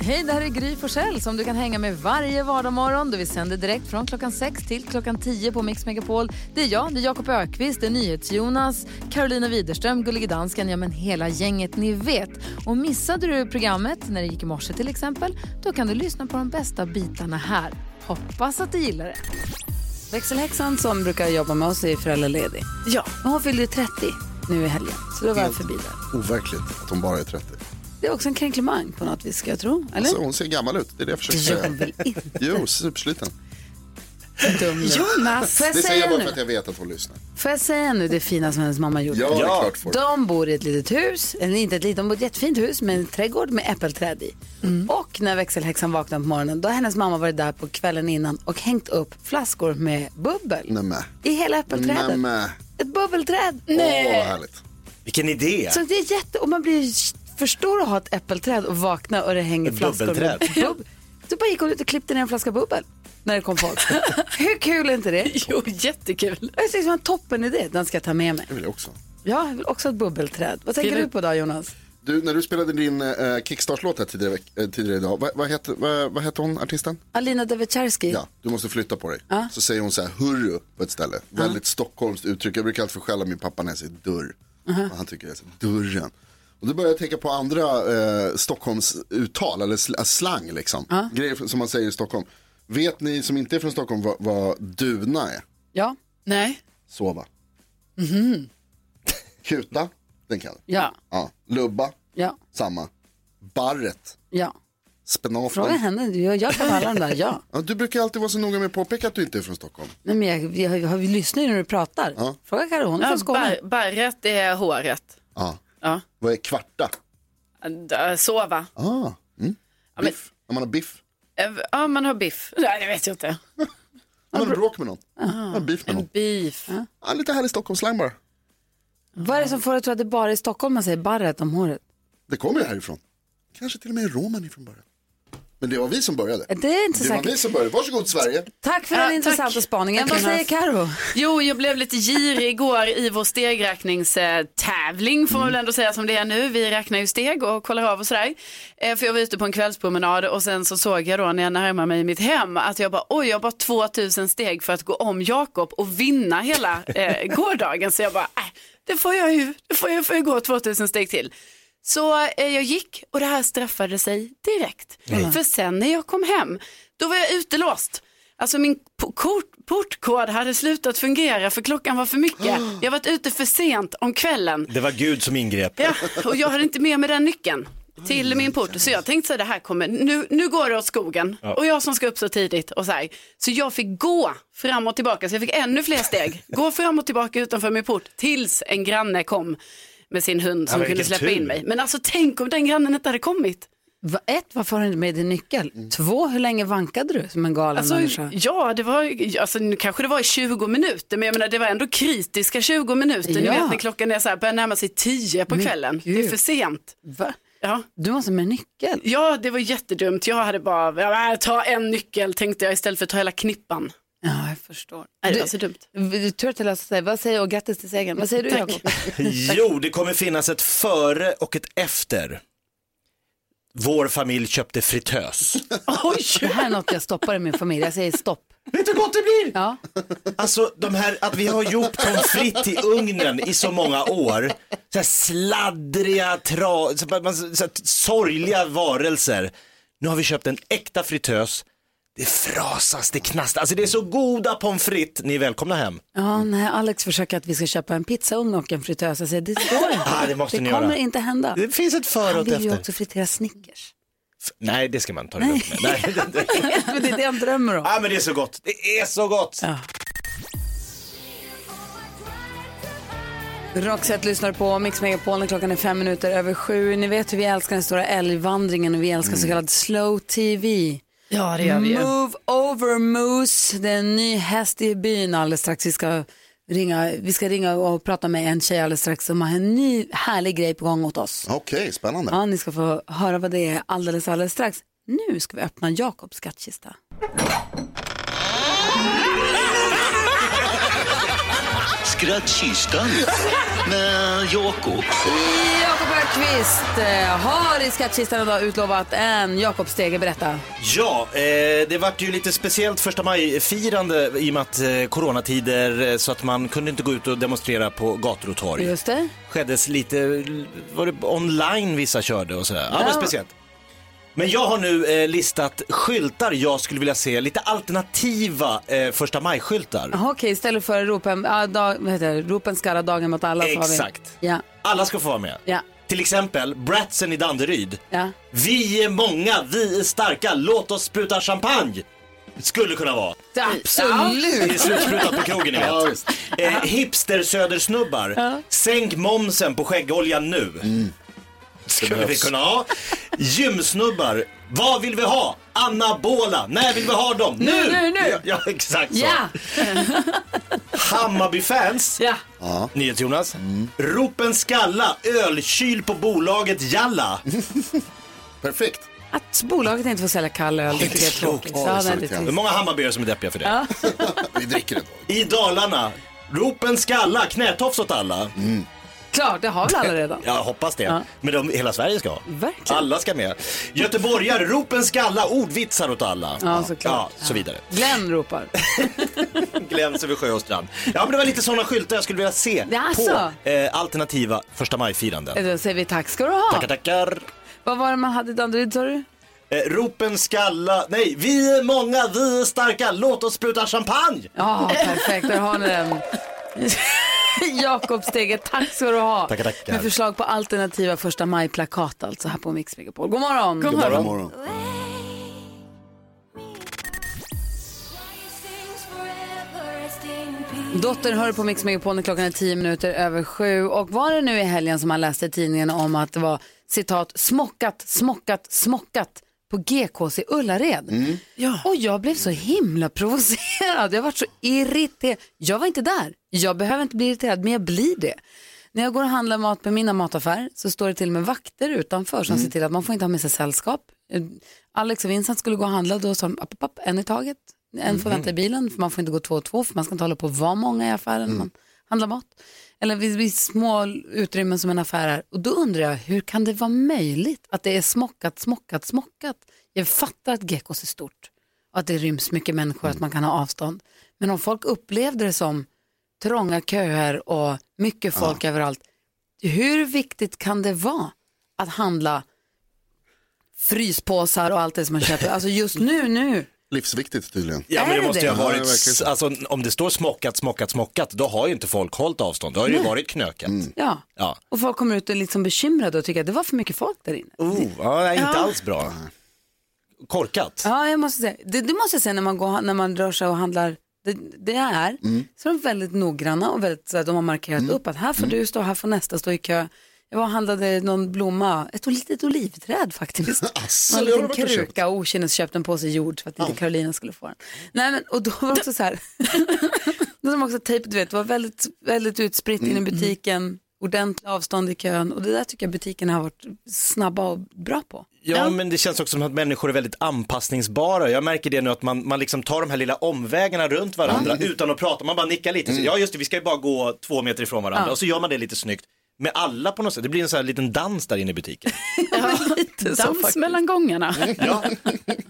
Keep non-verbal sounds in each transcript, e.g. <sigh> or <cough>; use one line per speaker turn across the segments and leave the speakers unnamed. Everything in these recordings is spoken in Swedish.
Hej, det här är Gry Forssell som du kan hänga med varje vardagsmorgon. Vi sänder direkt från klockan 6 till klockan 10 på Mix Megapol. Det är jag, det är Jakob Ökvist, det är NyhetsJonas, Carolina Widerström, Gullige Dansken, ja men hela gänget ni vet. Och missade du programmet när det gick i morse till exempel, då kan du lyssna på de bästa bitarna här. Hoppas att du gillar det.
Växelhäxan som brukar jobba med oss är föräldraledig. Ja. Men hon fyllde ju 30 nu i helgen, så då var jag
Helt
förbi där.
Overkligt att hon bara är 30.
Det är också en kränklemang på något vis, ska jag tro. Eller?
Alltså, hon ser gammal ut, det är det jag försöker
Det gör hon
säga.
väl inte?
Jo, supersliten.
Jonas, får jag
Det säger
säga
jag bara för att
nu,
jag vet att hon lyssnar.
får jag säga nu det fina som hennes mamma gjorde?
Ja, det är klart folk.
De bor i ett litet hus, eller inte ett litet, de bor i ett jättefint hus med en trädgård med äppelträd i. Och när växelhäxan vaknade på morgonen, då har hennes mamma varit där på kvällen innan och hängt upp flaskor med bubbel
Nämen.
i hela äppelträdet.
Nämen.
Ett bubbelträd!
Åh, vad härligt.
Vilken idé!
Så det är jätte... Och man blir för stor att ha ett äppelträd och vakna och det hänger
Ett
flaskor. med
bubbelträd.
Bubb. Så bara gick hon ut och klippte ner en flaska bubbel när det kom folk. Hur kul är inte det?
Jo, jättekul.
Jag tycker det var en toppen idé. Den ska jag ta med mig.
Det vill jag också.
Ja, jag vill också ha ett bubbelträd. Vad tänker
Vill du-
du på då Jonas?
Du, när du spelade din eh, kickstart-låt här tidigare, veck- eh, tidigare idag, vad, vad, heter, vad, vad heter hon, artisten?
Alina Devecherski.
Ja, du måste flytta på dig. Så säger hon så här, hurru, på ett ställe. Väldigt stockholmskt uttryck. Jag brukar alltid få skälla min pappa när jag säger dörr. Och han tycker jag säger dörren. Och då börjar jag tänka på andra eh, Stockholmsuttal, eller sl- eh, slang liksom. Grejer som man säger i Stockholm. Vet ni som inte är från Stockholm vad, vad duna är?
Ja.
Nej.
Sova.
Mhm.
Kuta, den kan du.
Ja.
Ja. Lubba,
Ja.
samma. Barret,
Ja. Fråga
spenaten.
henne. Jag, jag kan alla de där. Ja.
Ja, du brukar alltid vara så noga med att påpeka att du inte är från Stockholm.
Nej, men jag, jag, jag, vi lyssnar ju när du pratar.
Ja.
Fråga Karin, hon är från Skåne.
Bar- barret är håret.
Ja.
Ja. Äh,
Vad är kvarta?
D- Sova.
Ah, mm.
men-
Biff, när man har biff.
Eh, Ja, man har biff. <laughs> Nej, det vet jag inte.
När man har bråk med någon. Man har biff med någon.
Beef.
Ja, lite härlig Stockholmsslang bara.
Vad är det som får dig att tro att det bara är i Stockholm man säger barret om håret?
Det kommer ju härifrån. Kanske till och med Roman ifrån början. Men det var vi som började.
Det är inte så
Det var
säkert.
vi som började. Varsågod Sverige.
Tack för
Ja,
den
tack.
intressanta spaningen.
Tack,
Vad säger
Jonas.
Karo?
Jo, jag blev lite girig igår i vår stegräkningstävling får man väl ändå säga som det är nu. Vi räknar ju steg och kollar av och sådär. Eh, För jag var ute på en kvällspromenad och sen så såg jag då när jag närmade mig mitt hem att jag bara oj, jag har bara 2000 steg för att gå om Jakob och vinna hela eh, gårdagen. Så jag bara, äh, det får jag ju, det får jag, får jag gå 2000 steg till. Så eh, jag gick och det här straffade sig direkt. För sen när jag kom hem, då var jag utelåst. Alltså min po- kort, portkod hade slutat fungera för klockan var
<gasps>
för mycket. Jag varit ute för sent om kvällen.
Det var Gud
<laughs>
som ingrep.
Ja, och jag hade inte med mig den nyckeln till min port. Så jag tänkte så här, det här kommer, nu, nu går det åt skogen. Och jag som ska upp så tidigt och så här. Så jag fick gå fram och tillbaka, så jag fick ännu fler steg.
<laughs>
Gå fram och tillbaka utanför min port tills en granne kom med sin hund som
men
kunde
vilken
släppa
tur.
in mig. Men alltså tänk om den grannen inte hade kommit.
Va- Ett, varför har du inte med din nyckel?
Mm.
Två, hur länge vankade du som en galen
Alltså,
människa?
ja, det var, alltså, nu kanske det var i 20 minuter, men jag menar, det var ändå kritiska 20 minuter. Ni
Ja.
vet när klockan är så här, börjar närma sig 10 på kvällen. Det
Gud.
är för sent.
Va?
Ja.
Du måste med nyckel.
ja, det var jättedumt. Jag hade bara, ja, äh, ta en nyckel tänkte jag istället för att ta hela knippan.
Ja, jag förstår.
Nej, det
Du-
var så dumt.
Du, tur att det löste sig. Vad säger, och grattis till segern. Vad säger du
Tack.
Jakob?
Jo, det kommer finnas ett före och ett efter. Vår familj köpte
<laughs>
fritös.
Oj!
Det här är något jag stoppar i min familj. Jag säger stopp.
Vet du hur gott det blir?
Ja.
Alltså de här, att vi har gjort pommes frites i ugnen i så många år. Så här sladdriga, tra, så här, man, så här, sorgliga varelser. Nu har vi köpt en äkta fritös. Det frasas, det knastrar. Alltså det är så goda pommes frites. Ni är välkomna hem.
Ja, nej, Alex försöker att vi ska köpa en pizzaugn och en fritös. Jag säger det går inte.
Ah, det måste ni
kommer
göra.
inte hända.
Det finns ett före
Han
och ett
vill ju
efter.
också fritera Snickers. <laughs>
F- Nej, det ska man ta det lugnt med. Nej, det, det.
Men det är det han drömmer om.
Ah, men det är så gott. Det är så gott.
Roxette lyssnar på Mix Megapol när klockan är fem minuter över sju. Ni vet hur vi älskar den stora älgvandringen och vi älskar så kallad slow TV.
Ja, Mm. det gör vi ju.
Move over Moose. Det är en ny häst i byn alldeles strax. Vi ska ringa, vi ska ringa och prata med en tjej alldeles strax som har en ny härlig grej på gång åt oss.
Okej, spännande.
Ja, ni ska få höra vad det är alldeles, alldeles strax. Nu ska vi öppna Jakobs skattkista.
Skrattkistan med Jakob.
Jakob Ökvist eh, har i skattkistan idag utlovat en Jakob Stege. Berätta.
Ja, eh, det vart ju lite speciellt första maj-firande i och med att eh, coronatider eh, så att man kunde inte gå ut och demonstrera på gator och torg.
Just det.
Skeddes lite, var det online vissa körde och sådär. Ja, men speciellt. Men jag har nu eh, listat skyltar jag skulle vilja se, lite alternativa eh, första maj-skyltar.
Jaha, Okej, istället för ropen, ah, dag, vad heter det? ropen skarra dagen mot alla. så har vi-
Exakt.
Ja.
Alla ska få vara med.
Ja.
Till exempel Bratsen i Danderyd.
Ja.
Vi är många, vi är starka, låt oss spruta champagne. Skulle kunna vara.
Absolut.
Det är slutsprutat på krogen ni
Ja,
vet.
visst.
Eh, Hipster-södersnubbar. Sänk momsen på skäggoljan nu.
Mm.
Skulle vi kunna ha. Gymsnubbar. Vad vill vi ha? Anabola. När vill vi ha dem? Nu!
nu, nu.
Ja, ja exakt så.
Ja.
Hammarby-fans.
Ja.
Nyhets-Jonas.
Mm.
Ropen skalla. Ölkyl på bolaget Jalla.
Mm. Perfekt.
Att bolaget inte får sälja kall öl, det tycker jag är tråkigt. Ja, det är lite
Hur
trist.
många Hammarbyare som är deppiga för det?
Vi dricker ändå.
I Dalarna. Ropen skalla. Knätofs åt alla.
Klart, det har väl alla redan.
Jag hoppas det. Men de, hela Sverige ska ha.
Verkligen.
Alla ska med. Göteborgare, ropen skalla, ordvitsar åt alla.
Ja, såklart.
Ja, så vidare. <laughs>
Glenn ropar.
Gläns över sjö och strand. Ja, men det var lite sådana skyltar jag skulle vilja se
Ja, alltså.
på eh, alternativa första maj-firanden.
Då säger vi tack ska du ha.
Tackar, tackar.
Vad var det man hade i Danderyd sa du?
Eh, ropen skalla, nej, vi är många, vi är starka, låt oss spruta champagne.
Ja, perfekt. Där har ni den. <laughs> Jakob Stege, tack ska du ha.
Tackar, tackar.
Med förslag på alternativa första maj-plakat alltså här på Mix Megapol. God morgon. God
God morgon.
Dotter hör på Mix Megapol när klockan är tio minuter över sju. Och var det nu i helgen som man läste i tidningen om att det var citat smockat, smockat, smockat på GKs i Ullared. Och jag blev så himla provocerad. Jag var så irriterad. Jag var inte där. Jag behöver inte bli irriterad, men jag blir det. När jag går och handlar mat på mina mataffär så står det till och med vakter utanför som ser till att man får inte ha med sig sällskap. Eh, Alex och Vincent skulle gå och handla, då sa de app, app, app, en i taget. En får vänta i bilen, för man får inte gå två och två, för man ska inte hålla på och vara många i affären när man handlar mat. Eller vid, vid små utrymmen som en affär är. Och då undrar jag, hur kan det vara möjligt att det är smockat, smockat, smockat? Jag fattar att geckos är stort och att det ryms mycket människor, att man kan ha avstånd. Men om folk upplevde det som trånga köer och mycket folk överallt. Hur viktigt kan det vara att handla fryspåsar och allt det som man köper? Alltså just nu, nu.
Livsviktigt tydligen.
Ja, men
Är
det måste
det?
ju ha
Ja,
varit,
det verkar så.
alltså, om det står smockat, smockat, smockat, då har ju inte folk hållit avstånd. Då har det ju varit knökat.
Ja.
Ja.
Och folk kommer ut och är liksom bekymrade och tycker att det var för mycket folk där inne.
Oh, ja, nej, inte alls bra. Korkat.
Ja, jag måste säga. Det, det måste jag säga när man, går, när man rör sig och handlar. Det, det är.
Mm.
Så är de väldigt noggranna och väldigt, så här, de har markerat upp att här får
Mm.
du stå, här får nästa stå i kö. Jag var och handlade någon blomma, ett litet olivträd faktiskt.
<laughs> Asså,
en
det har
liten
de inte köpt.
kruka och okynnesköpt en påse jord för att inte Carolina skulle få den. Nej, men, och då var det också
<laughs>
så här. då var de också tejp, du vet, det var väldigt, väldigt utspritt
Mm,
in i butiken. Ordentligt avstånd i kön och det där tycker jag butikerna har varit snabba och bra på.
Ja, men det känns också som att människor är väldigt anpassningsbara. Jag märker det nu att man, man liksom tar de här lilla omvägarna runt varandra utan att prata. Man bara nickar lite. Så, ja, just det, vi ska ju bara gå två meter ifrån varandra. Och så gör man det lite snyggt med alla på något sätt. Det blir en sån här liten dans där inne i butiken.
Lite <laughs> så
Dans
faktiskt.
mellan gångarna.
<laughs> Ja.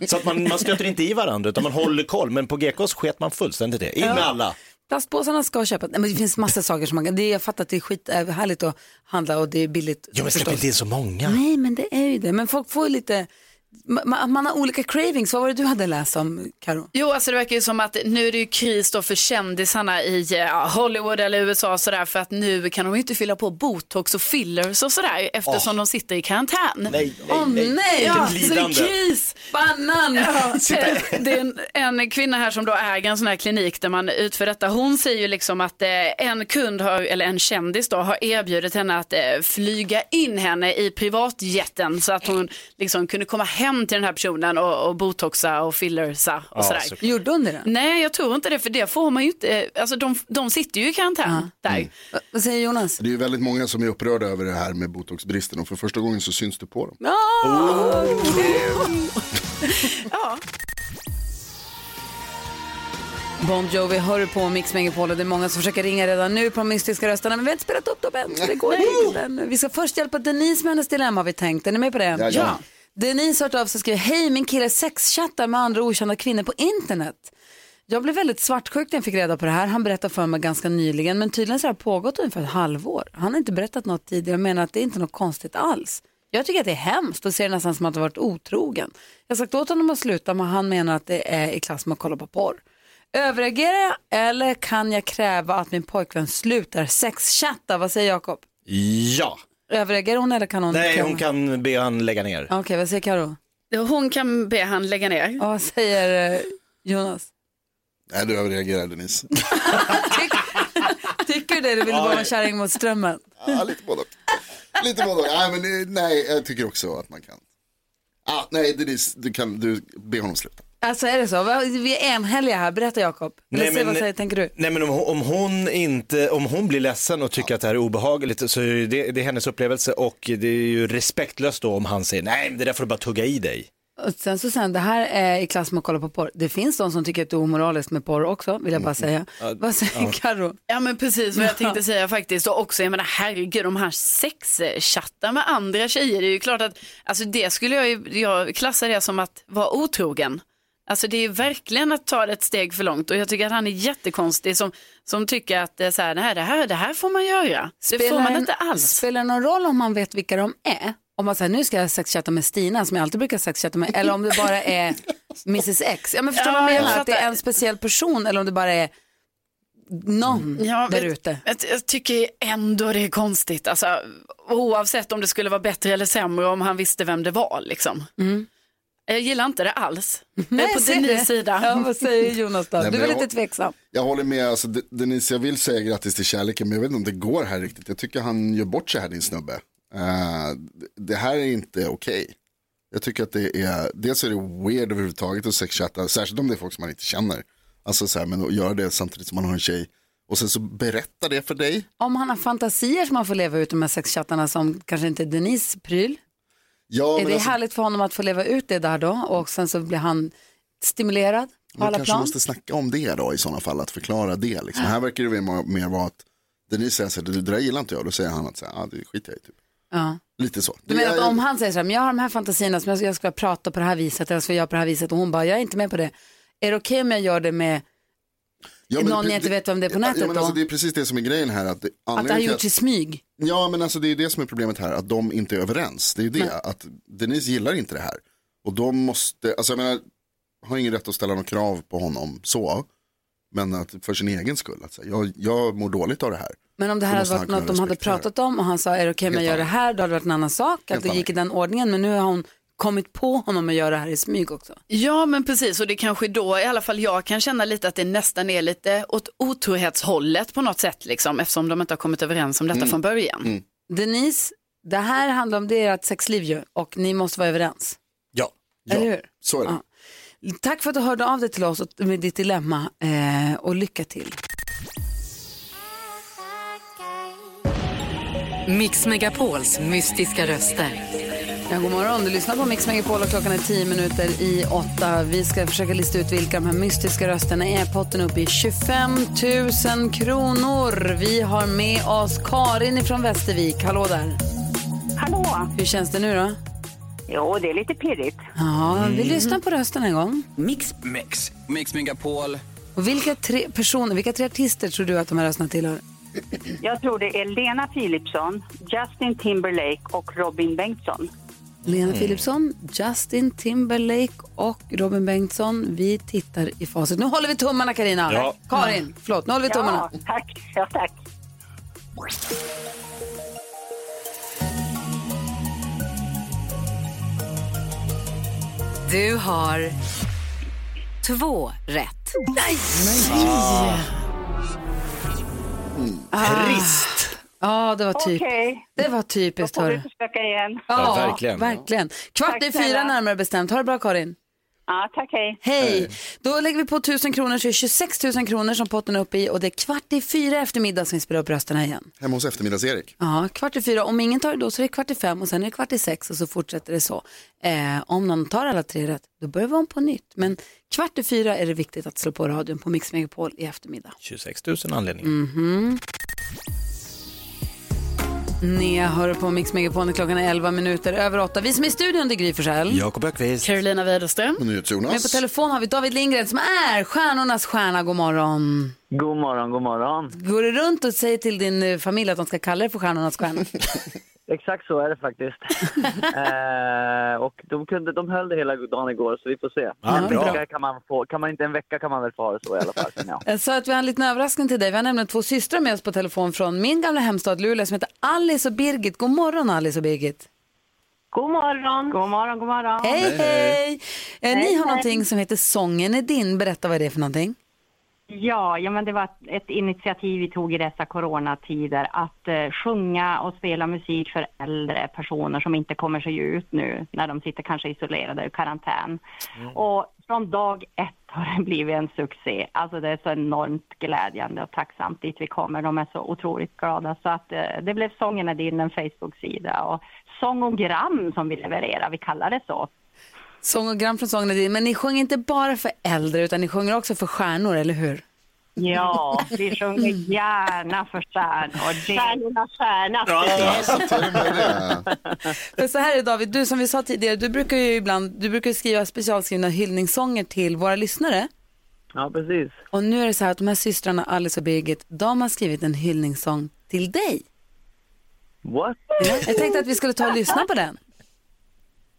Så att man, man stöter inte i varandra utan man håller koll. Men på GKs sket man fullständigt det. In med alla.
Plastpåsarna ska köpas. Nej, men det finns massa saker som man kan. Det, jag fattar att det är skit är härligt att handla och det är billigt.
Jo, men släpp
förstås.
inte in så många.
Nej, men det är ju det. Men folk får ju lite, man, man har olika cravings. Vad var det du hade läst om, Karo?
Jo, alltså det verkar ju som att nu är det ju kris då för kändisarna i ja, Hollywood eller USA och sådär för att nu kan de ju inte fylla på botox och fillers och sådär eftersom de sitter i karantän. alltså,
Nej, nej,
Åh nej,
Ja,
så det är kris, banan.
Ja, eh, det är en, en kvinna här som då äger en sån här klinik där man utför detta. Hon säger ju liksom att eh, en kund, har, eller en kändis då, har erbjudit henne att eh, flyga in henne i privatjeten så att hon liksom kunde komma hem till den här personen och, och botoxa och fillersa och
Ja,
sådär.
så-
Gjorde hon det? då?
Nej, jag tror inte det, för det får man ju inte. eh, Alltså, de, de sitter ju i karantän där.
Vad- Vad säger Jonas?
Det är ju väldigt många som är upprörda över det här med botoxbristen och för första gången så syns det på dem.
<laughs>
Ja.
Bon Jovi hör du på Mix Megapol och det är många som försöker ringa redan nu på de mystiska rösterna men vi har inte spelat upp dem än så det går inte ännu. Vi ska först hjälpa Denise med hennes dilemma har vi tänkt. Är ni med på det?
Ja, ja.
Denise har hört av sig och skriver, hej min kille sexchattar med andra okända kvinnor på internet. Jag blev väldigt svartsjuk när jag fick reda på det här. Han berättade för mig ganska nyligen men tydligen så har det pågått ungefär ett halvår. Han har inte berättat något tidigare Jag menar att det är inte något konstigt alls. Jag tycker att det är hemskt och ser det nästan som att han varit otrogen. Jag har sagt åt honom att sluta men han menar att det är i klass med att kolla på porr. Överreagerar jag eller kan jag kräva att min pojkvän slutar sexchatta? Vad säger Jakob?
Ja.
Överreagerar hon eller kan hon?
Nej,
kräva?
hon kan be han lägga ner.
Okej, vad säger Karo?
Hon kan be han lägga ner.
Och vad säger eh, Jonas?
Nej, du överreagerar Denise.
<laughs> Tycker du det? Du vill bara vara kärring mot strömmen.
Ja, lite både och. Lite både och. Nej, men eh, nej, jag tycker också att man kan. Ah, nej, Denise, du kan, du, be honom sluta.
Alltså är det så? Va- Vi är enhälliga här. Berätta Jakob. Eller
Nej,
säg,
men-
vad säger, tänker du?
Nej men om, om hon inte, om hon blir ledsen och tycker att det här är obehagligt så är det, det är hennes upplevelse och det är ju respektlöst då om han säger nej men det där får du bara tugga i dig.
Och sen så sen, det här är i klass med att kolla på porr. Det finns de som tycker att det är omoraliskt med porr också, vill jag bara säga. Vad säger Karo?
Ja men precis <laughs> vad jag tänkte säga faktiskt. Och också jag menar herregud de här sexchattar med andra tjejer. Det är ju klart att alltså det skulle jag ju, jag klassar det som att vara otrogen. Alltså det är ju verkligen att ta det ett steg för långt och jag tycker att han är jättekonstig som, som tycker att det är så här, nej, det, här, det här får man göra. det får man
en-
inte alls.
Spelar det någon roll om man vet vilka de är? Om man säger nu ska jag sexchatta med Stina som jag alltid brukar sexchatta med. Eller om det bara <laughs> är Mrs X. Ja, men förstår du vad
Ja,
jag
jag
menar? Att det är
fattar.
en speciell person eller om det bara är någon
Ja,
där
men-
ute.
Jag, jag tycker ändå det är konstigt. Alltså, oavsett om det skulle vara bättre eller sämre om han visste vem det var. Liksom. Jag gillar inte det alls.
<laughs>
jag är på
Mm. ser det.
Denise sida.
Ja, vad säger Jonas då?
Nej,
Du
men
är väl
jag-
lite tveksam?
Jag håller med, alltså, De- Denise, jag vill säga grattis till kärleken, men jag vet inte om det går här riktigt. Jag tycker han gör bort sig här, din snubbe. Eh, d- det här är inte okej. Jag tycker att det är, dels är det weird överhuvudtaget att sexchatta, särskilt om det är folk som man inte känner. Alltså så här, men att göra det samtidigt som man har en tjej. Och sen så berätta det för dig.
Om han har fantasier som han får leva ut, de här sexchattarna som kanske inte är Denise pryl.
Ja,
är
men
det
alltså,
härligt för honom att få leva ut det där då? Och sen så blir han stimulerad på
Man
alla
kanske
plan.
måste snacka om det då i sådana fall, att förklara det. Liksom. Här verkar det väl mer- mer vara att Denise säger så här, det där gillar inte jag, då säger han att så här, ah, det skiter jag i. Typ.
Ja.
Lite så.
Du menar att om han säger så här, men jag har de här fantasierna som jag, jag ska prata på det här viset, eller jag ska göra på det här viset och hon bara, jag är inte med på det. Är det okej om jag gör det med,
ja,
någon jag inte vet vem det är på nätet
ja, men
då?
Alltså, det är precis det som är grejen här. Att det,
att det har
anledningen till
gjorts i smyg?
Ja, men alltså det är det som är problemet här, att de inte är överens. Det är ju det, att Denise gillar inte det här. Och de måste, alltså jag menar, har ingen rätt att ställa några krav på honom så, men att för sin egen skull, att säga, jag, jag mår dåligt av det här.
Men om det här
Då
hade
måste
varit
han kunna
något de hade
respektera det.
pratat om och han sa, är det okej om jag
Helt
gör det
annat.
här, då hade det varit en annan sak, att
Helt
det gick i den ordningen, men nu har hon kommit på honom att göra det här i smyg också.
Ja men precis och det kanske då i alla fall jag kan känna lite att det nästan är lite åt otrohetshållet på något sätt liksom eftersom de inte har kommit överens om detta från början.
Denise, det här handlar om det är ert sexliv ju och ni måste vara överens.
Ja.
Eller hur?
Så är det.
Ja. Tack för att du hörde av dig till oss och- med ditt dilemma eh, och lycka till.
Mix Megapols mystiska röster.
Ja, god morgon, du lyssnar på Mix Megapol och klockan är 10 minuter i åtta. Vi ska försöka lista ut vilka de här mystiska rösterna är. Potten är uppe i 25 000 kronor. Vi har med oss Karin från Västervik. Hallå där.
Hallå!
Hur känns det nu då?
Jo, det är lite pirrigt.
Ja,
Mm.
vi lyssnar på rösten en gång.
Mix,
Mix, Mix Megapol.
Och vilka tre personer, vilka tre artister tror du att de här rösterna tillhör?
Jag tror det är Lena Philipsson, Justin Timberlake och Robin Bengtsson.
Lena
Mm.
Philipsson, Justin Timberlake och Robin Bengtsson. Vi tittar i facit. Nu håller vi tummarna, Karina.
Ja.
Karin, förlåt. Nu håller vi tummarna.
Ja, tack. Ja, tack.
du har två rätt.
Trist.
Ja, det var typ.
Okej,
Det var typiskt.
då får vi
Hörru.
försöka igen.
Ja, verkligen.
verkligen. Kvart
Tack
i fyra
snälla.
närmare bestämt. Ha det bra, Karin.
Ja, tack, hej.
Hej! Då lägger vi på 1000 kronor så är det 26 000 kronor som potten är uppe i och det är kvart i fyra eftermiddag som vi spelar upp rösterna igen.
Hemma hos eftermiddags-Erik.
Ja, kvart i fyra. Om ingen tar det då så är det kvart i fem och sen är det kvart i sex och så fortsätter det så. Eh, om någon tar alla tre rätt då börjar vi om på nytt. Men kvart i fyra är det viktigt att slå på radion på Mix Megapol i eftermiddag.
26 000 anledningar. Mm.
Ni hör på Mix Megapol när klockan är 11 minuter över 8. Vi som är i studion det är Gry Forssell.
Jakob Öqvist.
Carolina Widerström.
Och NyhetsJonas.
Men på telefon har vi David Lindgren som är stjärnornas stjärna. God morgon.
God morgon, god morgon.
Går du runt och säger till din eh, familj att de ska kalla dig för stjärnornas stjärna?
Exakt så är
<laughs>
det faktiskt. eh, och de, kunde, de höll det hela dagen igår, så vi får se.
Ja,
en
bra.
vecka kan man få, kan man inte en vecka kan man väl få ha det så i alla fall.
<laughs>
känner jag.
Jag sa Eh, att vi har en liten överraskning till dig. Vi har nämligen två systrar med oss på telefon från min gamla hemstad Luleå som heter Alice och Birgit. God morgon Alice och Birgit.
God morgon. God morgon, god morgon.
Hej hej! Eh, Ni har någonting som heter Sången är din. Berätta vad det är för någonting.
Ja, ja, men det var ett initiativ vi tog i dessa coronatider att eh, sjunga och spela musik för äldre personer som inte kommer sig ut nu när de sitter kanske isolerade i karantän. Och från dag ett har det blivit en succé. Alltså det är så enormt glädjande och tacksamt dit vi kommer. De är så otroligt glada. Så att eh, det blev Sången är din, en Facebook-sida och sångogram som vi levererar. Vi kallar det så.
Sång och gram från Sången är din. Men ni sjunger inte bara för äldre utan ni sjunger också för stjärnor, eller hur?
Ja, vi sjunger gärna för stjärnor. Stjärnornas stjärna.
Alltså, till och med det.
För så här är det, David, du som vi sa tidigare, du brukar ju ibland du brukar ju skriva specialskrivna hyllningssånger till våra lyssnare.
Ja, precis.
Och nu är det så här att de här systrarna Alice och Birgit, de har skrivit en hyllningssång till dig.
What?
Jag tänkte att vi skulle ta och lyssna på den.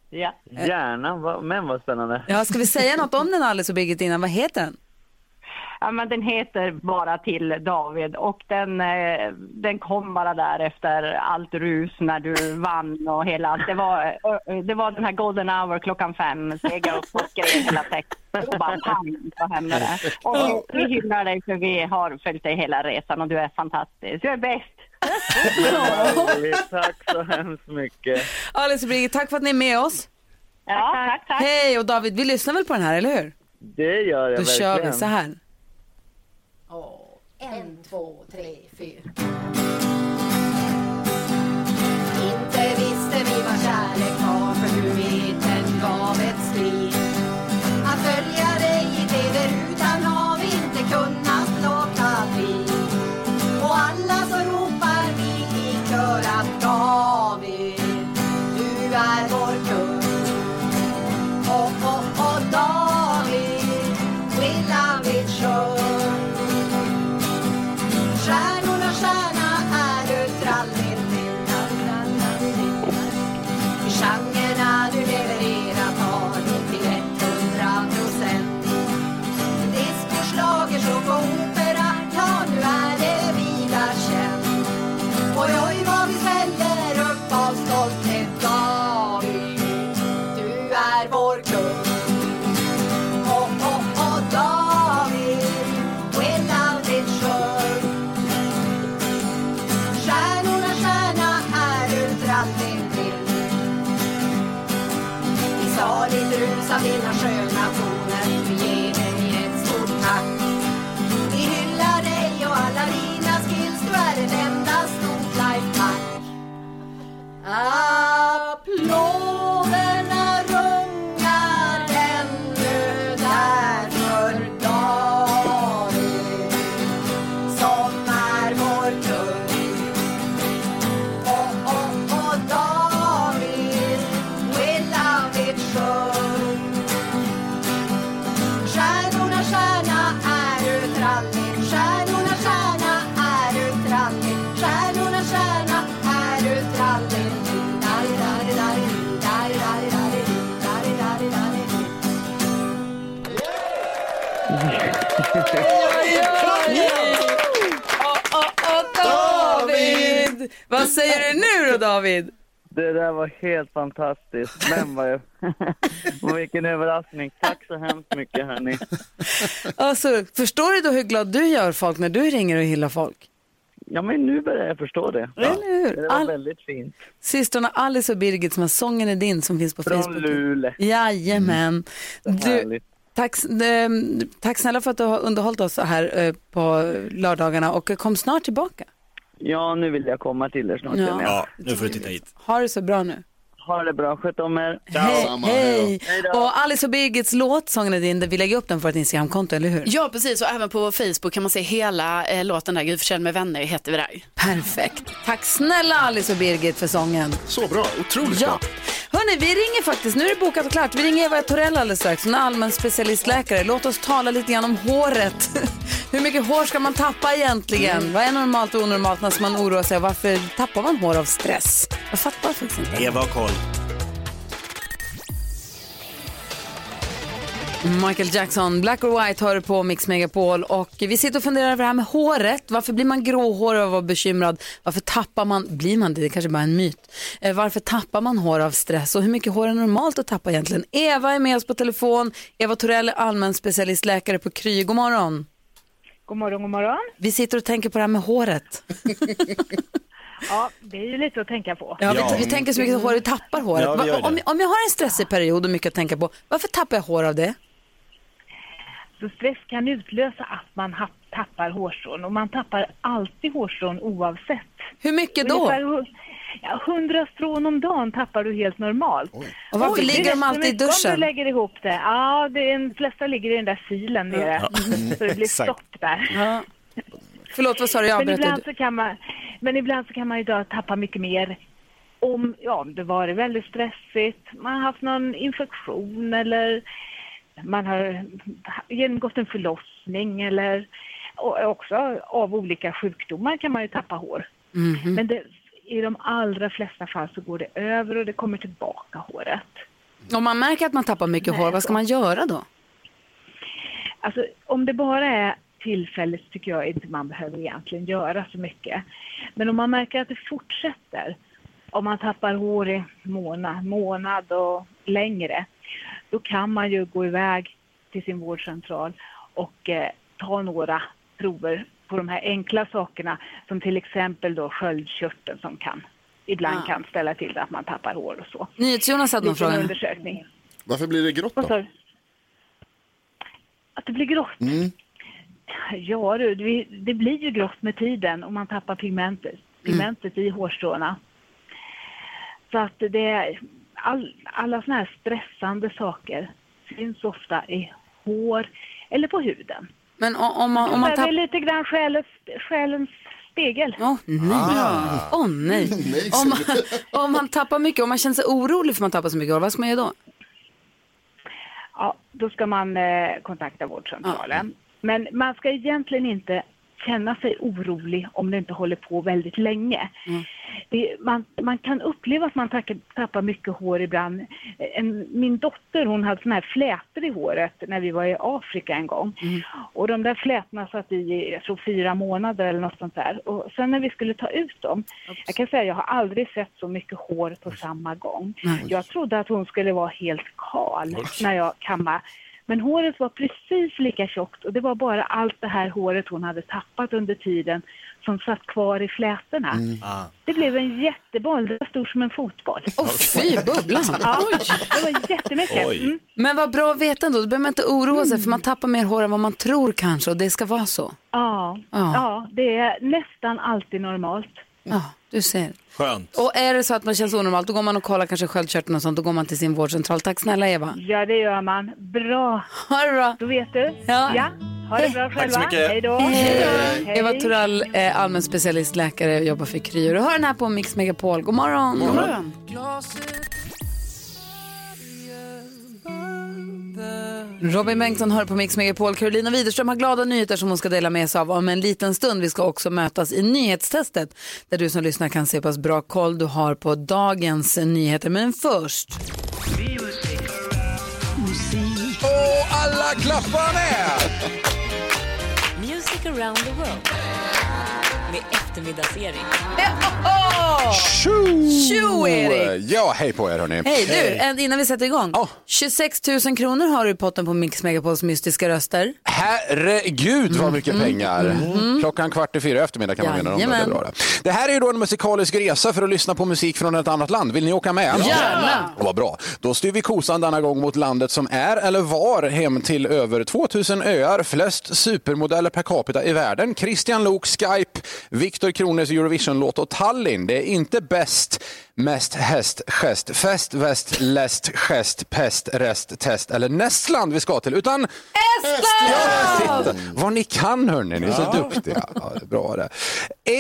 Ja.
Gärna, va, men vad spännande.
Ja, ska vi säga något om den Alice och Birgit innan? Vad heter den?
ja, men den heter Bara till David och den, eh, den kom bara där efter allt rus när du vann och hela. Det var, eh, det var den här golden hour klockan fem, steg jag upp och skrev hela texten och bara pang så hände det. Och vi hyllar dig för vi har följt dig hela resan och du är fantastisk. Du är bäst!
<laughs> Tack så hemskt mycket.
Alice och Birgit, tack för att ni är med oss.
Ja, tack, tack.
Hej och David, vi lyssnar väl på den här, eller hur?
Det gör jag
Då
verkligen.
kör vi så här.
En, två, tre, fyra. Inte visste vi vad kärlek var för du vet den gav ett skri. Att följa dig i TV-rutan har vi inte kunnat låta bli. Och alla så ropar vi i kör att David, du är vår kung. Och, och, och David, we love it sure. Stjärnorna, stjärna är du trallin I genrerna du levererat har du till 100 procent Discoslager, show och opera, ja nu är det vida känt Oj, oj, vad vi sväller upp av stolthet David, du är vår kung Oh, oh, oh, David, we love it sure Stjärnorna, stjärna är ur trallin till Vi sa ditt rus av dina sköna toner Vi ger dig ett stort tack Vi hyllar dig och alla dina skills Du är ett enda stort lifehack Applåderna rungar ännu där för David som är vår kung och, och, och David We love it sjung Stjärnorna, stjärna är du trallig Stjärnorna, stjärna är du trallig Stjärnorna, stjärna är du trallig Dari, dari, dari, dari, dari, dari, dari, dari, dari, dari.
Åh, åh, åh, David! Vad säger du nu då David?
Det där var helt fantastiskt. Men vad jag... <laughs> Och vilken överraskning. Tack så hemskt mycket, hörni.
Alltså, förstår du då hur glad du gör folk när du ringer och hyllar folk?
Ja, men nu börjar jag förstå det.
Eller hur?
Det var
All-
väldigt fint.
Systrarna Alice och Birgit som har Sången är din som finns på
Från
Facebook.
Luleå. Mm.
Jajamän. Du,
härligt.
tack, s- ehm, tack snälla för att du har underhållit oss här eh, på lördagarna och eh, kom snart tillbaka.
Ja, nu vill jag komma till er snart.
Ja.
känner jag.
Ja,
nu får du titta hit.
Ha det så bra nu.
Ha det bra, sköt om er.
Hej, hej. Och Alice och Birgits låt Sången är din, där vi lägger upp den på vårt Instagramkonto, eller hur?
Ja, precis. Och även på vår Facebook kan man se hela eh, låten där. Gud förtjänar med vänner heter vi där.
Perfekt. Tack snälla Alice och Birgit för sången.
Så bra, otroligt
ja. bra. Hörni, vi ringer faktiskt, nu är det bokat och klart. Vi ringer Eva Torell alldeles strax, hon är allmän specialistläkare. Låt oss tala lite grann om håret. <laughs> Hur mycket hår ska man tappa egentligen? Vad är normalt och onormalt när man oroar sig? Varför tappar man hår av stress? Jag fattar faktiskt inte.
Eva har koll.
Michael Jackson, Black or White, hör på Mix Megapol. Och vi sitter och funderar över det här med håret. Varför blir man gråhårig av att vara bekymrad? Varför tappar man, blir man det? Det kanske bara är en myt. Eh, varför tappar man hår av stress? Och hur mycket hår är normalt att tappa egentligen? Eva är med oss på telefon. Eva Torell är allmän specialistläkare på Kry. God morgon.
God morgon, god morgon.
Vi sitter och tänker på det här med håret.
Ja, det är ju lite att tänka på.
Ja, Vi, vi tänker så mycket hår, vi tappar håret.
Ja, vi gör
Va- om,
det.
om jag har en stressig period och mycket att tänka på, varför tappar jag hår av det?
Så stress kan utlösa att man ha- tappar hårstrån och man tappar alltid hårstrån oavsett.
Hur mycket då?
Ungefär hu- ja, 100 strån om dagen tappar du helt normalt.
Och varför
det
ligger
är
de
rätt
alltid i
mycket om
duschen?
du lägger ihop det. Ja, det är, de flesta ligger i den där filen nere.
Ja.
<laughs> Så det blir
Exakt.
stopp där.
Förlåt, vad sa du? Jag
men,
avbröt dig.
ibland så kan man, men ibland så kan man ju då tappa mycket mer om, ja, om det varit väldigt stressigt, man har haft någon infektion eller man har genomgått en förlossning eller och också av olika sjukdomar kan man ju tappa hår.
Mhm.
Men det, i de allra flesta fall så går det över och det kommer tillbaka håret.
Om man märker att man tappar mycket hår, vad ska man göra då?
Alltså, om det bara är tillfälligt tycker jag inte man behöver egentligen göra så mycket. Men om man märker att det fortsätter, om man tappar hår i månad, månad och längre, då kan man ju gå iväg till sin vårdcentral och eh, ta några prover på de här enkla sakerna som till exempel då sköldkörteln som kan ibland
Ah.
kan ställa till det att man tappar hår och så.
NyhetsJonas hade någon
Liten
fråga.
undersökning.
Varför blir det grått
Vad sa
då?
du? Att det blir grått?
Mm.
Ja du, det- det blir ju grått med tiden om man tappar pigmentet, pigmentet i hårstråna. Så att det är all, alla såna här stressande saker syns ofta i hår eller på huden.
Men o- om man, om man
Så det är
tappar...
lite grann själens, själens spegel.
Åh nej.
Ah.
Åh nej.
<laughs> Nej,
om, man, om man tappar mycket, om man känner sig orolig för att man tappar så mycket hår, vad ska man göra då?
Ja, då ska man eh, kontakta vårdcentralen. Men man ska egentligen inte känna sig orolig om det inte håller på väldigt länge. Det, man, man kan uppleva att man tack- tappar mycket hår ibland. En, min dotter hon hade såna här flätor i håret när vi var i Afrika en gång. Och de där flätorna satt i jag tror, fyra månader eller något sånt där. Och sen när vi skulle ta ut dem, jag kan säga jag har aldrig sett så mycket hår på samma gång.
Nej.
Jag trodde att hon skulle vara helt kal
Oj.
när jag kammade. Men håret var precis lika tjockt och det var bara allt det här håret hon hade tappat under tiden som satt kvar i flätorna.
Mm.
Ah.
Det blev en jätteboll, den var stor som en fotboll.
Åh fy, bubblan!
<laughs> Ja, det var jättemycket.
Oj.
Mm.
Men vad bra att veta ändå, då behöver man inte oroa sig för man tappar mer hår än vad man tror kanske och det ska vara så.
Mm. Ja,
Ja.
ja, det är nästan alltid normalt.
Ja, du ser.
Skönt.
Och är det så att man känns onormalt, då går man och kollar kanske sköldkörteln och sånt, då går man till sin vårdcentral. Tack snälla Eva.
Ja, det gör man. Bra.
Ha det bra.
Då vet du.
Ja.
Ha det bra
Tack
själva.
så mycket.
Hej då.
Hej.
Hej.
Eva Torell är allmän specialistläkare och jobbar för Kry. Och Du hör den här på Mix Megapol. God morgon.
God morgon.
Robin Bengtsson hör på Mix Megapol. Carolina Widerström har glada nyheter som hon ska dela med sig av om en liten stund. Vi ska också mötas i nyhetstestet där du som lyssnar kan se hur pass bra koll du har på dagens nyheter. Men först...
Och alla klappar med! Music around the world med eftermiddagsserien. Oh,
Tjo, Erik!
Ja, hej på er hörni.
Hej du, en- innan vi sätter igång. 26 000 kronor har du i potten på Mix Megapols mystiska röster.
Herregud vad mycket pengar. Klockan kvart i fyra i eftermiddag kan man vinna dem. Det, är
Jajamän.
bra det. det här är ju då en musikalisk resa för att lyssna på musik från ett annat land. Vill ni åka med?
Gärna.
Och Vad bra. Då styr vi kosan denna gång mot landet som är eller var hem till över 2000 öar, flest supermodeller per capita i världen. Christian Lok, Skype, Viktor Krones Eurovision-låt och Tallinn. Det är inte bäst, mest, häst, gest, fest, väst, läst, gest, pest, rest, test eller Nästland vi ska till, utan Titta, vad ni kan hörni, ni är så duktiga. Ja, det är bra det.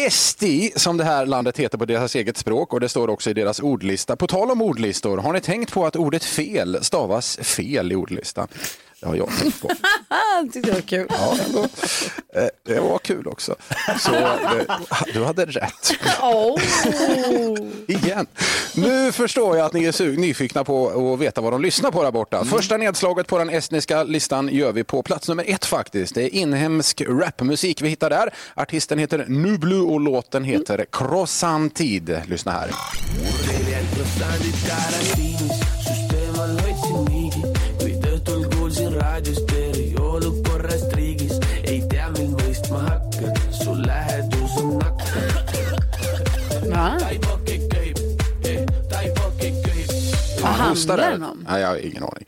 Esti, som det här landet heter på deras eget språk och det står också i deras ordlista. På tal om ordlistor, har ni tänkt på att ordet fel stavas fel i ordlistan? Det har jag tänkt på.
Tyckte det var kul.
Ja, ändå. <laughs> Eh, Det var kul också. Så eh, det, du
<laughs>
hade rätt.
Oh.
Igen. Nu förstår jag att ni är su- nyfikna på att veta vad de lyssnar på där borta. Första nedslaget på den estniska listan gör vi på plats nummer ett faktiskt. Det är inhemsk rapmusik vi hittar där. Artisten heter Nublu och låten heter Krossantid. Lyssna här.
Va? Vad handlar
Hostar där.
den om?
Nej, jag har ingen aning.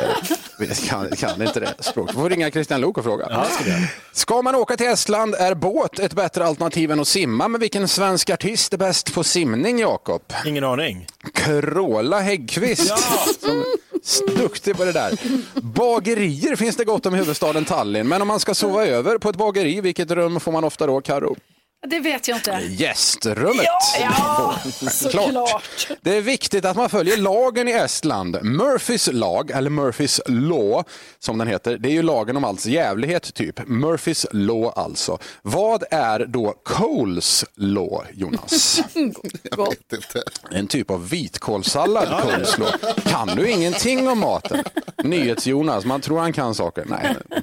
Eh, jag kan, kan inte det språket. får ringa Christian Lok och fråga. Ska man åka till Estland är båt ett bättre alternativ än att simma. Men vilken svensk artist är bäst på simning, Jakob?
Ingen aning.
Carola Häggkvist. Som är Duktig på det där. Bagerier finns det gott om i huvudstaden Tallinn. Men om man ska sova över på ett bageri, vilket rum får man ofta då, Karo?
Det vet jag inte.
Gästrummet.
Ja,
Klart.
såklart.
Det är viktigt att man följer lagen i Estland. Murphys lag, eller Murphys law som den heter, det är ju lagen om alls jävlighet typ. Murphys law alltså. Vad är då Coles law, Jonas?
Jag vet inte.
En typ av vitkålssallad, Coles law. Kan du ingenting om maten? Nyhets-Jonas, man tror han kan saker. Nej, nej.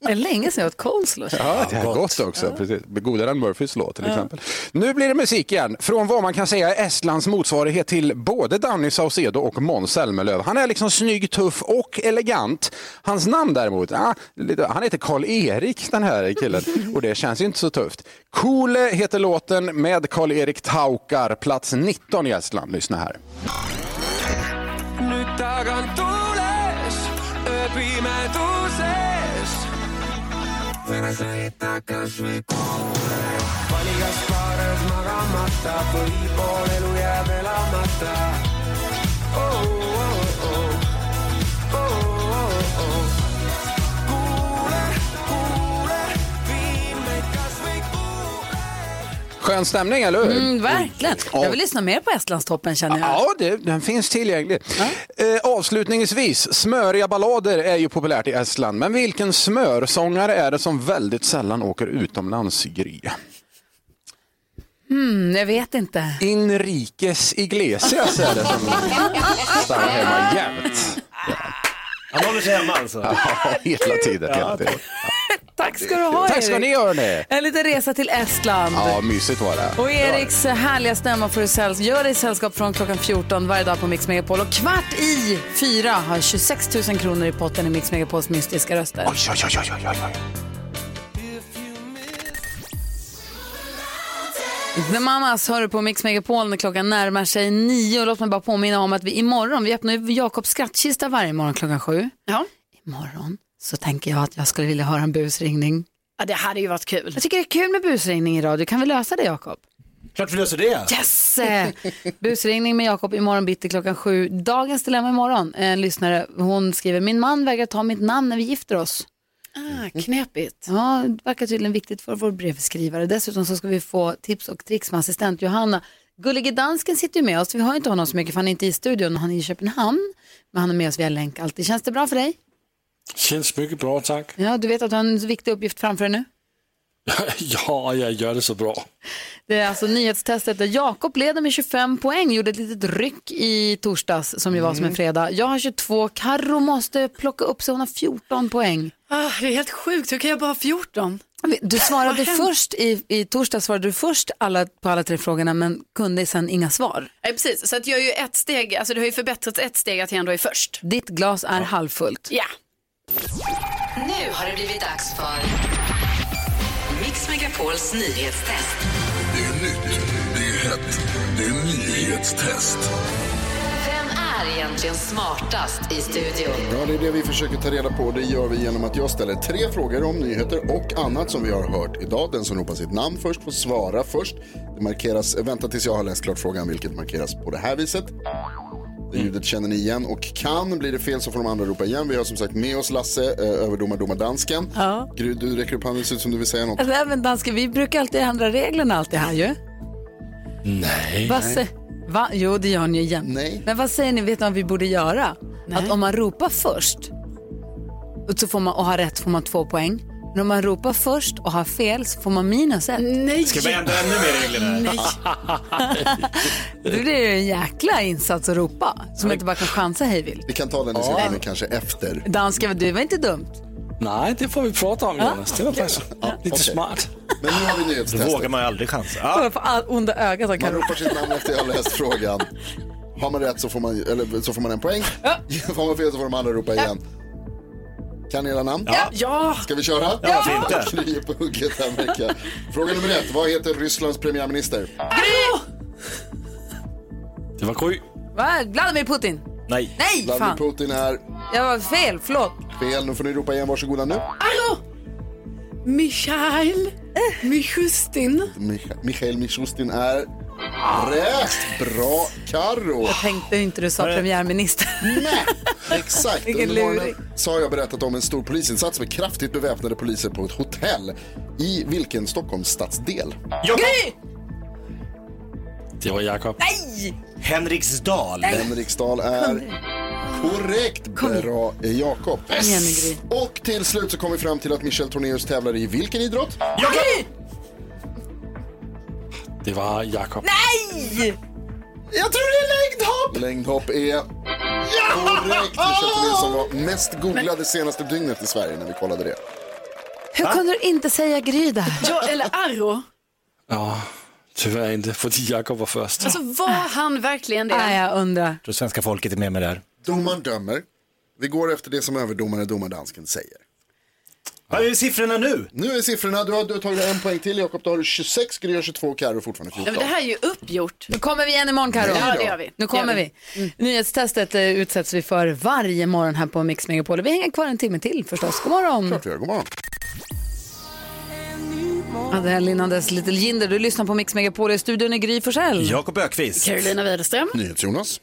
Det är länge sedan jag åt coleslaw.
Ja, det är gott, också. Precis. Godare än Murphys låt till exempel. Nu blir det musik igen. Från vad man kan säga är Estlands motsvarighet till både Danny Saucedo och Måns Zelmerlöw. Han är liksom snygg, tuff och elegant. Hans namn däremot, ah, lite, han heter Karl-Erik den här killen och det känns ju inte så tufft. Coole heter låten med Karl-Erik Taukar, plats 19 i Estland. Lyssna här.
Nyt tagan tuules, öö pimetuses. Mene sõita kas või kuule. Valikas kaares magamata, põhipool elu jääb elamata. Oh, oh, oh. Oh, oh, oh. Kuule, kuule, vii meid kas või
Skön stämning, eller hur?
Mm, verkligen. Jag vill lyssna mer på Estlandstoppen känner jag.
Ja, det, den finns tillgänglig. Eh, avslutningsvis, smöriga ballader är ju populärt i Estland. Men vilken smörsångare är det som väldigt sällan åker utomlands, Gry?
Mm, jag vet inte.
Inrikes Iglesias är det som stannar hemma jämt.
Han håller sig hemma alltså?
Ja, hela tiden. Hela tiden.
Tack ska du ha
Tack ska ni
Erik.
ha, hörni.
En liten resa till Estland.
Ja, mysigt var det.
Och Eriks härliga stämma får du säll- gör dig sällskap från klockan 14 varje dag på Mix Megapol. Och kvart i fyra har 26 000 kronor i potten i Mix Megapols mystiska röster.
Oj, oj, oj, oj, oj, oj.
The Mamas hör du på Mix Megapol när klockan närmar sig nio. Och låt mig bara påminna om att vi imorgon, vi öppnar ju Jakobs skrattkista varje morgon klockan sju.
Ja.
Imorgon så tänker jag att jag skulle vilja höra en busringning.
Ja, det hade ju varit kul.
Jag tycker det är kul med busringning i radio. Kan vi lösa det Jakob?
Klart vi löser det.
Yes! Eh, Busringning med Jakob imorgon bitti klockan sju. Dagens dilemma imorgon. En lyssnare hon skriver, min man vägrar ta mitt namn när vi gifter oss.
Ah, knepigt.
Ja, det verkar tydligen viktigt för vår brevskrivare. Dessutom så ska vi få tips och tricks med assistent Johanna. Gullige dansken sitter ju med oss. Vi har inte honom så mycket för han är inte i studion. Han är i Köpenhamn. Men han är med oss via länk alltid. Känns det bra för dig?
Känns mycket bra, tack.
Ja, du vet att du har en viktig uppgift framför dig nu.
ja, jag gör det så bra.
Det är alltså nyhetstestet där Jakob leder med 25 poäng, gjorde ett litet ryck i torsdags som ju var som en fredag. Jag har 22, Karo måste plocka upp sig, hon har 14 poäng.
Ah, det är helt sjukt, hur kan jag bara ha 14?
Du
Vad
svarade
har hänt?
först, i, i torsdags svarade du först alla, på alla tre frågorna men kunde sen inga svar.
Nej, precis, så att jag är ju ett steg, alltså det har ju förbättrats ett steg att jag ändå är först.
Ditt glas är halvfullt.
Ja,
Nu har det blivit dags för Mix Megapols nyhetstest.
Det är nytt, det är hett, det är nyhetstest.
Vem är egentligen smartast i studion?
Ja, det är det vi försöker ta reda på. Det gör vi genom att jag ställer tre frågor om nyheter och annat som vi har hört idag. Den som ropar sitt namn först får svara först. Det markeras, vänta tills jag har läst klart frågan, vilket markeras på det här viset. Det ljudet känner ni igen och kan. Blir det fel så får de andra ropa igen. Vi har som sagt med oss Lasse, eh, överdomardomardansken.
Ja.
Gry, du räcker upp handen, det ser ut som du vill säga något.
Alltså, även danska, vi brukar alltid ändra reglerna alltid här ju.
Nej.
Vad sä- Va? Jo, det gör ni ju igen. Men vad säger ni, vet ni vad vi borde göra? Att om man ropar först och, så får man, och har rätt får man två poäng. Men om man ropar först och har fel så får man minus ett. Nej!
Ska vi ändra ännu mer reglerna?
Nej. Det blir ju en jäkla insats att ropa som inte bara kan chansa hej vilt.
Vi kan ta den diskussionen kanske efter.
Danska, det var inte dumt.
Nej, det får vi prata om, Jonas. Det var faktiskt lite
okej.
smart.
Men nu har vi nyhetstestet.
Då vågar man ju aldrig chansa.
Kolla på all onda ögat han
Man
kan
ropar sitt namn efter jag har läst frågan. Har man rätt så får man, eller, så får man en poäng. Får man fel så får de andra ropa igen. Kan ni era namn?
Ja. Ja.
Ska vi köra?
Ja, varför
Ni är på hugget här Micke. Fråga nummer ett. Vad heter Rysslands premiärminister?
Det var Gry.
Va? Vladimir Putin?
Nej.
Nej,
Vladimir
fan.
Putin är
Jag var fel, förlåt.
fel. Nu får ni ropa igen. Varsågoda nu.
Michael Michustin.
Mich- Mikhail Mishustin är rätt. Bra Karo.
Jag tänkte inte du sa
Var det-
premiärminister.
<laughs> Exakt.
Vilken
Under morgonen
luring.
så har jag berättat om en stor polisinsats med kraftigt beväpnade poliser på ett hotell. I vilken Stockholms stadsdel?
Gry!
Det var Jakob.
Nej!
Henriksdal.
Henriksdal är korrekt. Bra eh, Jakob.
Kom igen,
Och till slut så kom vi fram till att Michel Tornéus tävlar i vilken idrott?
Det var Jakob.
Nej!
Jag tror det är längdhopp! Längdhopp är korrekt. Michel Tornéus som var mest googlade senaste dygnet i Sverige när vi kollade det.
Hur kunde du inte säga Gry där?
Ja, eller Arro.
Ja, tyvärr inte, för Jakob var först.
Alltså var han verkligen det?
Nej, jag undrar.
Tror svenska folket är med mig där.
Domaren dömer. Vi går efter det som överdomare domardansken säger.
Vad är siffrorna nu?
Nu är siffrorna. Du har, du har tagit en poäng till Jakob. Då har du 26, Gry har 22 och Carro fortfarande
Ja,
14.
men det här är ju uppgjort.
Nu kommer vi igen imorgon Karo.
Ja, det gör vi. Mm.
Nu kommer
Det gör
vi. Nyhetstestet eh, utsätts vi för varje morgon här på Mix Megapol. Vi hänger kvar en timme till förstås. God morgon.
Klart vi gör. God morgon.
Adele innan dess Little Jinder. Du lyssnar på Mix Megapol. I studion är Gry Forssell.
Jakob Ökvist.
Carolina Widerström.
NyhetsJonas.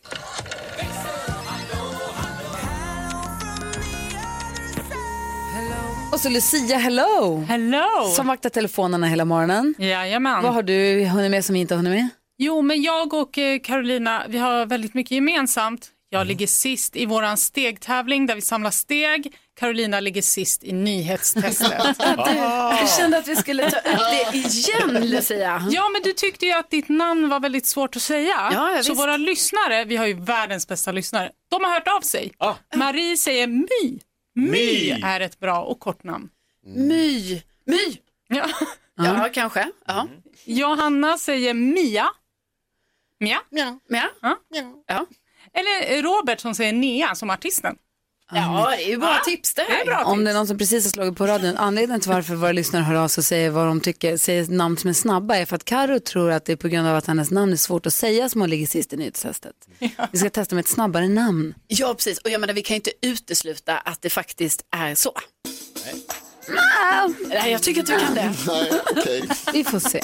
Och så Lucia, hello!
Hello!
Som vaktar telefonerna hela morgonen.
Jajamän.
Vad har du hunnit med som vi inte har hunnit med?
Jo, men jag och eh, Carolina, vi har väldigt mycket gemensamt.
Mm.
Jag ligger sist i våran stegtävling där vi samlar steg. Carolina ligger sist i nyhetstestet.
Jag kände att vi skulle ta upp det igen, Lucia.
Ja, men du tyckte ju att ditt namn var väldigt svårt att säga.
Ja, ja,
så
visst.
våra lyssnare, vi har ju världens bästa lyssnare, de har hört av sig. Marie säger My. My.
My.
är ett bra och kort namn.
My. My.
Ja,
Ja, kanske. Ja.
Johanna säger Mia. Mia.
Mia. Mia.
Ja. Eller Robert som säger Nea som artisten.
Ja, det är ju bra tips det här.
Mm. Det är bra
Om
tips.
det är någon som precis har slagit på radion, anledningen till varför våra lyssnare hör av sig och säger vad de tycker, säger namn som är snabba, är för att Karo tror att det är på grund av att hennes namn är svårt att säga som hon ligger sist i nyhetstestet. Vi ska testa med ett snabbare namn.
Ja, precis. Och jag menar, vi kan ju inte utesluta att det faktiskt är så. Nej, jag tycker att du kan det.
Nej, okej.
Vi får se.